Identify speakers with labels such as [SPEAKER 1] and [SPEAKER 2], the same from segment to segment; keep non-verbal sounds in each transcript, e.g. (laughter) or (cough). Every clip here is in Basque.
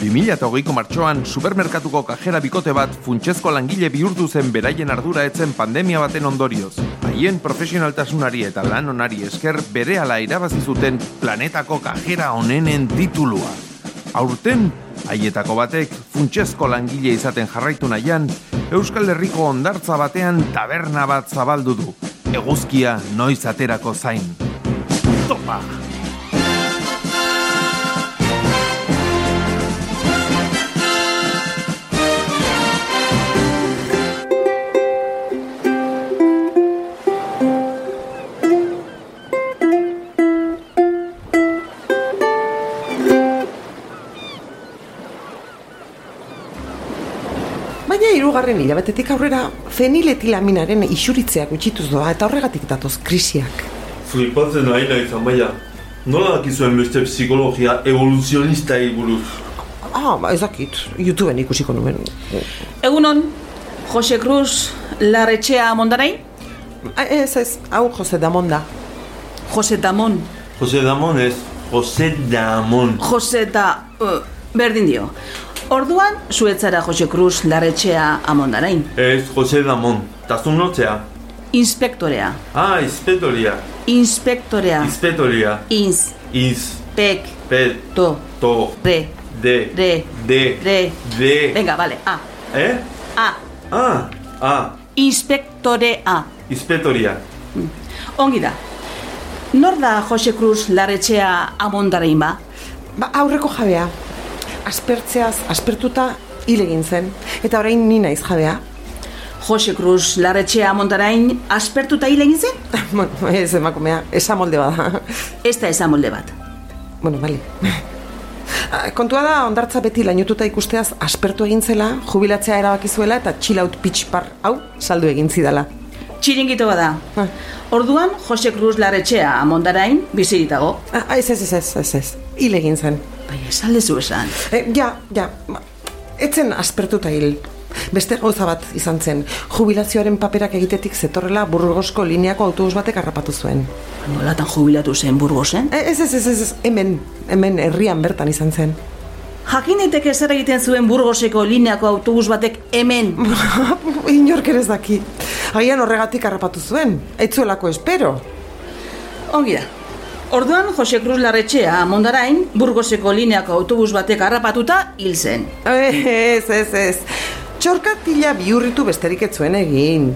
[SPEAKER 1] 2008ko martxoan supermerkatuko kajera bikote bat funtsezko langile bihurtu zen beraien ardura etzen pandemia baten ondorioz. Haien profesionaltasunari eta lan onari esker berehala irabazi zuten planetako kajera onenen titulua. Aurten, haietako batek funtsezko langile izaten jarraitu nahian, Euskal Herriko ondartza batean taberna bat zabaldu du. Eguzkia noiz aterako zain. Topa!
[SPEAKER 2] Baina hirugarren hilabetetik aurrera feniletilaminaren isuritzeak gutxituz doa eta horregatik datoz krisiak.
[SPEAKER 3] Flipatzen ari naiz amaia. Nola dakizuen beste psikologia evoluzionistari buruz?
[SPEAKER 2] Ah, ba, ez dakit, YouTubeen ikusiko nuen.
[SPEAKER 4] Egunon, Jose Cruz Larretxea Mondarain,
[SPEAKER 2] Ah, Ez, ez, hau Jose Damonda.
[SPEAKER 4] Jose Tamon,
[SPEAKER 3] Jose Damon ez, Jose Damon.
[SPEAKER 4] Jose eta eh, berdin dio. Orduan, zuetzara Jose Cruz Larretxea Amondarain,
[SPEAKER 3] Ez, Jose Damon. Tazun notzea.
[SPEAKER 4] inspektorea,
[SPEAKER 3] Ah, inspetoria. Ah.
[SPEAKER 4] inspektorea,
[SPEAKER 3] Inspetoria.
[SPEAKER 4] inz,
[SPEAKER 3] Iz.
[SPEAKER 4] pek,
[SPEAKER 3] Pet.
[SPEAKER 4] to,
[SPEAKER 3] To.
[SPEAKER 4] re,
[SPEAKER 3] De.
[SPEAKER 4] Re.
[SPEAKER 3] De.
[SPEAKER 4] Re.
[SPEAKER 3] De.
[SPEAKER 4] venga, vale, a,
[SPEAKER 3] Eh?
[SPEAKER 4] a,
[SPEAKER 3] Ah, ah.
[SPEAKER 4] inspektorea.
[SPEAKER 3] Inspetoria.
[SPEAKER 4] Ongi da, nor da Jose Cruz Larretxea Amondarain ba?
[SPEAKER 2] Ba, aurreko jabea. Aspertzeaz, aspertuta hil egin zen. Eta orain ni naiz jabea. (laughs)
[SPEAKER 4] Jose Cruz Larretxea Amondarain aspertuta hil egin zen?
[SPEAKER 2] bueno, ez emakumea, esamolde bada. (laughs)
[SPEAKER 4] Ez da esamolde bat.
[SPEAKER 2] bueno, bale. (laughs) Ah, Kontua da, ondartza beti lainututa ikusteaz aspertu egin zela, jubilatzea erabaki zuela eta chill out pitch bar hau saldu egin zidala.
[SPEAKER 4] Txiringito bada.
[SPEAKER 2] Ah.
[SPEAKER 4] Orduan, Jose Cruz Larretxea amondarain bizirik dago.
[SPEAKER 2] Ah, ez, ez, ez, ez, ez, ez. Hil egin zen.
[SPEAKER 4] Bai, esaldezu esan.
[SPEAKER 2] E, ja, ja, ba, etzen aspertuta hil. Beste gauza bat izan zen, jubilazioaren paperak egitetik zetorrela burgosko lineako autobus batek harrapatu zuen.
[SPEAKER 4] Nolatan jubilatu zen Burgosen?
[SPEAKER 2] E, ez, ez, ez, ez, ez, hemen, hemen herrian bertan izan zen.
[SPEAKER 4] Jakin daiteke zer egiten zuen Burgoseko lineako autobus batek hemen.
[SPEAKER 2] Ah, (laughs) Inork ere ez daki. Agian horregatik harrapatu zuen, etzuelako espero.
[SPEAKER 4] Ongi da. Orduan, Jose Cruz Larretxea amondarain Burgoseko lineako autobus batek harrapatuta hil zen.
[SPEAKER 2] Eh, Ez, ez, ez, txorkatila bihurritu besterik ez zuen egin.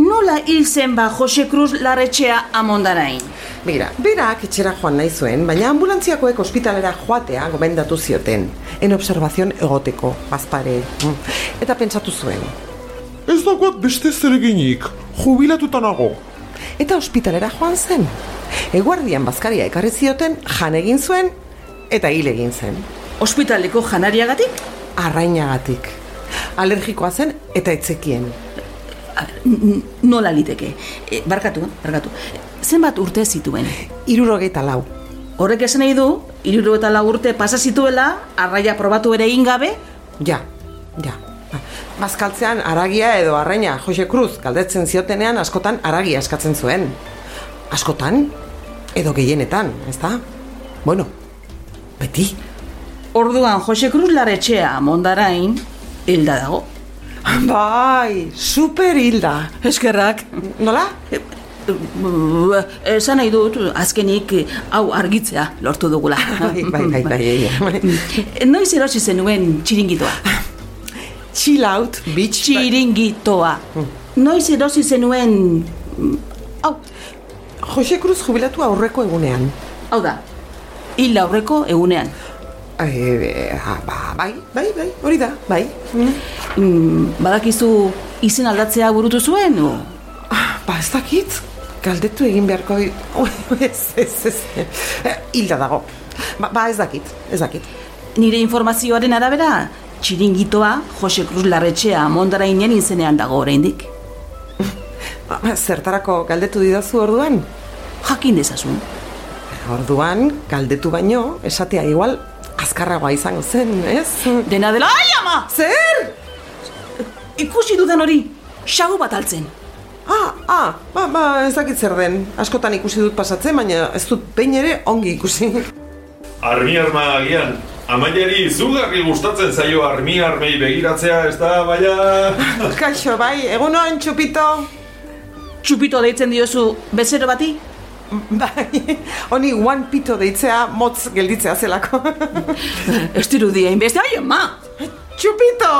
[SPEAKER 4] Nola hil zen ba Jose Cruz Larretxea amondarain?
[SPEAKER 2] Begira, berak etxera joan nahi zuen, baina ambulantziakoek ospitalera joatea gomendatu zioten. En observazion egoteko, bazpare. Mm. Eta pentsatu zuen.
[SPEAKER 5] Ez dagoat beste zereginik, jubilatuta nago.
[SPEAKER 2] Eta ospitalera joan zen. Eguardian bazkaria ekarri zioten, jan egin zuen, eta hil egin zen.
[SPEAKER 4] Hospitaleko janariagatik?
[SPEAKER 2] Arrainagatik. Alergikoa zen eta etzekien.
[SPEAKER 4] A ber, n- Nola liteke? E, barkatu, barkatu. Zenbat urte zituen?
[SPEAKER 2] Irurogeita lau.
[SPEAKER 4] Horrek esan nahi du, iruro eta lau urte pasa zituela, arraia probatu ere egin gabe,
[SPEAKER 2] Ja, ja. Ba, Bazkaltzean aragia edo arraina Jose Cruz galdetzen ziotenean askotan aragia eskatzen zuen. Askotan edo gehienetan, ezta? Bueno, beti.
[SPEAKER 4] orduan Jose Cruz Larretxea mondarain, hilda dago.
[SPEAKER 2] Bai, super hilda.
[SPEAKER 4] Eskerrak.
[SPEAKER 2] Nola?
[SPEAKER 4] Esan nahi dut, azkenik eh, hau argitzea lortu dugula.
[SPEAKER 2] (laughs) Bai, bai, bai, bai, bai.
[SPEAKER 4] Noiz erosi zenuen
[SPEAKER 2] (laughs)
[SPEAKER 4] txiringitoa?
[SPEAKER 2] Chill out, bitch.
[SPEAKER 4] Bai. Txiringitoa. Noiz erosi zenuen... Hau,
[SPEAKER 2] Jose Cruz jubilatu aurreko egunean.
[SPEAKER 4] hau da, hilda aurreko egunean.
[SPEAKER 2] E, e, ah, ba, bai, bai, bai, hori da, bai. Mm.
[SPEAKER 4] Mm, Badakizu izen aldatzea burutu zuen, o?
[SPEAKER 2] Ah, ba, ez dakit. Galdetu egin beharko... di- (laughs) ez, ez, ez. Eh, Hilda dago. Ba, ba, ez dakit, ez dakit.
[SPEAKER 4] Nire informazioaren arabera, txiringitoa Jose Cruz Larretxea mondarainen izenean dago oraindik.
[SPEAKER 2] Ba, ba, zertarako galdetu didazu orduan?
[SPEAKER 4] Jakin dezazun.
[SPEAKER 2] Orduan, galdetu baino, esatea igual, azkarragoa izango zen, ez?
[SPEAKER 4] Dena dela, ai ama!
[SPEAKER 2] Zer?
[SPEAKER 4] Ikusi dudan hori, xagu bat altzen.
[SPEAKER 2] Ah, ah, ba, ba, ez dakit zer den. Askotan ikusi dut pasatzen, baina ez dut behin ere ongi ikusi.
[SPEAKER 3] Armi arma agian, Amaiari izugarri gustatzen zaio armi armei begiratzea, ez da, baina...
[SPEAKER 2] (laughs)
[SPEAKER 3] (laughs)
[SPEAKER 2] Kaixo, bai, egunon, txupito.
[SPEAKER 4] Txupito deitzen diozu bezero bati? (laughs)
[SPEAKER 2] Bai, (laughs) honi one pito deitzea motz gelditzea zelako.
[SPEAKER 4] Ez dirudi egin beste, ai, ma!
[SPEAKER 2] txupito!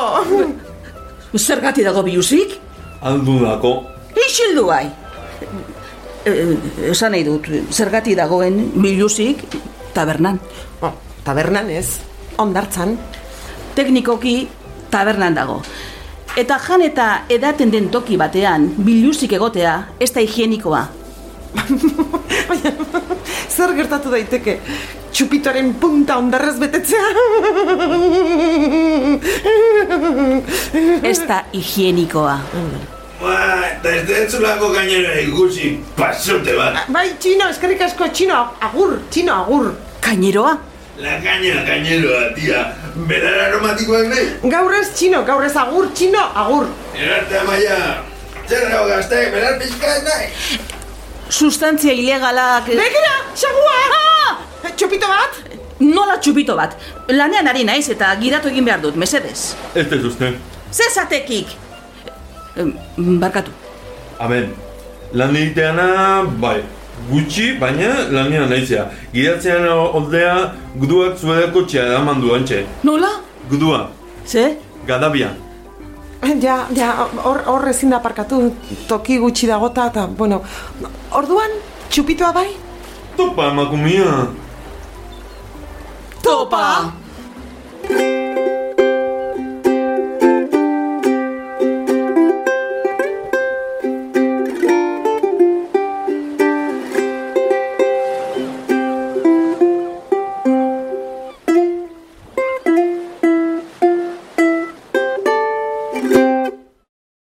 [SPEAKER 4] Zergati dago biuzik?
[SPEAKER 3] Aldunako,
[SPEAKER 4] Isildu bai! E, esan nahi dut, zergati dagoen biluzik tabernan.
[SPEAKER 2] Bo, Oh, tabernan ez, ondartzan.
[SPEAKER 4] Teknikoki tabernan dago. Eta jan eta edaten den toki batean biluzik egotea ez da higienikoa.
[SPEAKER 2] Baina, zer gertatu daiteke? Txupitoaren punta ondarrez betetzea.
[SPEAKER 4] Ez da higienikoa.
[SPEAKER 6] Ba, eta ez dentzulako gainera ikusi pasote bat.
[SPEAKER 2] bai, txino, eskerrik asko, txino, agur, txino, agur.
[SPEAKER 4] Kaineroa?
[SPEAKER 6] La gaina gaineroa, tia. Berara aromatikoak nahi.
[SPEAKER 2] Gaur ez txino, gaur ez agur, txino, agur.
[SPEAKER 6] Erarte amaia. Zerra gazte, berar pizkat nahi.
[SPEAKER 4] Sustantzia ilegalak...
[SPEAKER 2] Begira, xagua!
[SPEAKER 4] Ah!
[SPEAKER 2] Txupito bat?
[SPEAKER 4] Nola txupito bat. Lanean ari naiz eta giratu egin behar dut, mesedez.
[SPEAKER 3] ez ez uste.
[SPEAKER 4] Zezatekik! Em, Barkatu.
[SPEAKER 3] Amen. Lan egiteana, bai, gutxi, baina lanean naizea. Gidatzean oldea, guduak zuedako txea eraman du antxe.
[SPEAKER 4] Nola?
[SPEAKER 3] Gudua,
[SPEAKER 4] Ze?
[SPEAKER 3] gadabia.
[SPEAKER 2] Ja, ja, hor, hor ezin da parkatu, toki gutxi dagota, eta, bueno, orduan, txupitoa bai?
[SPEAKER 3] Topa emakumia.
[SPEAKER 4] Topa!
[SPEAKER 2] Topa!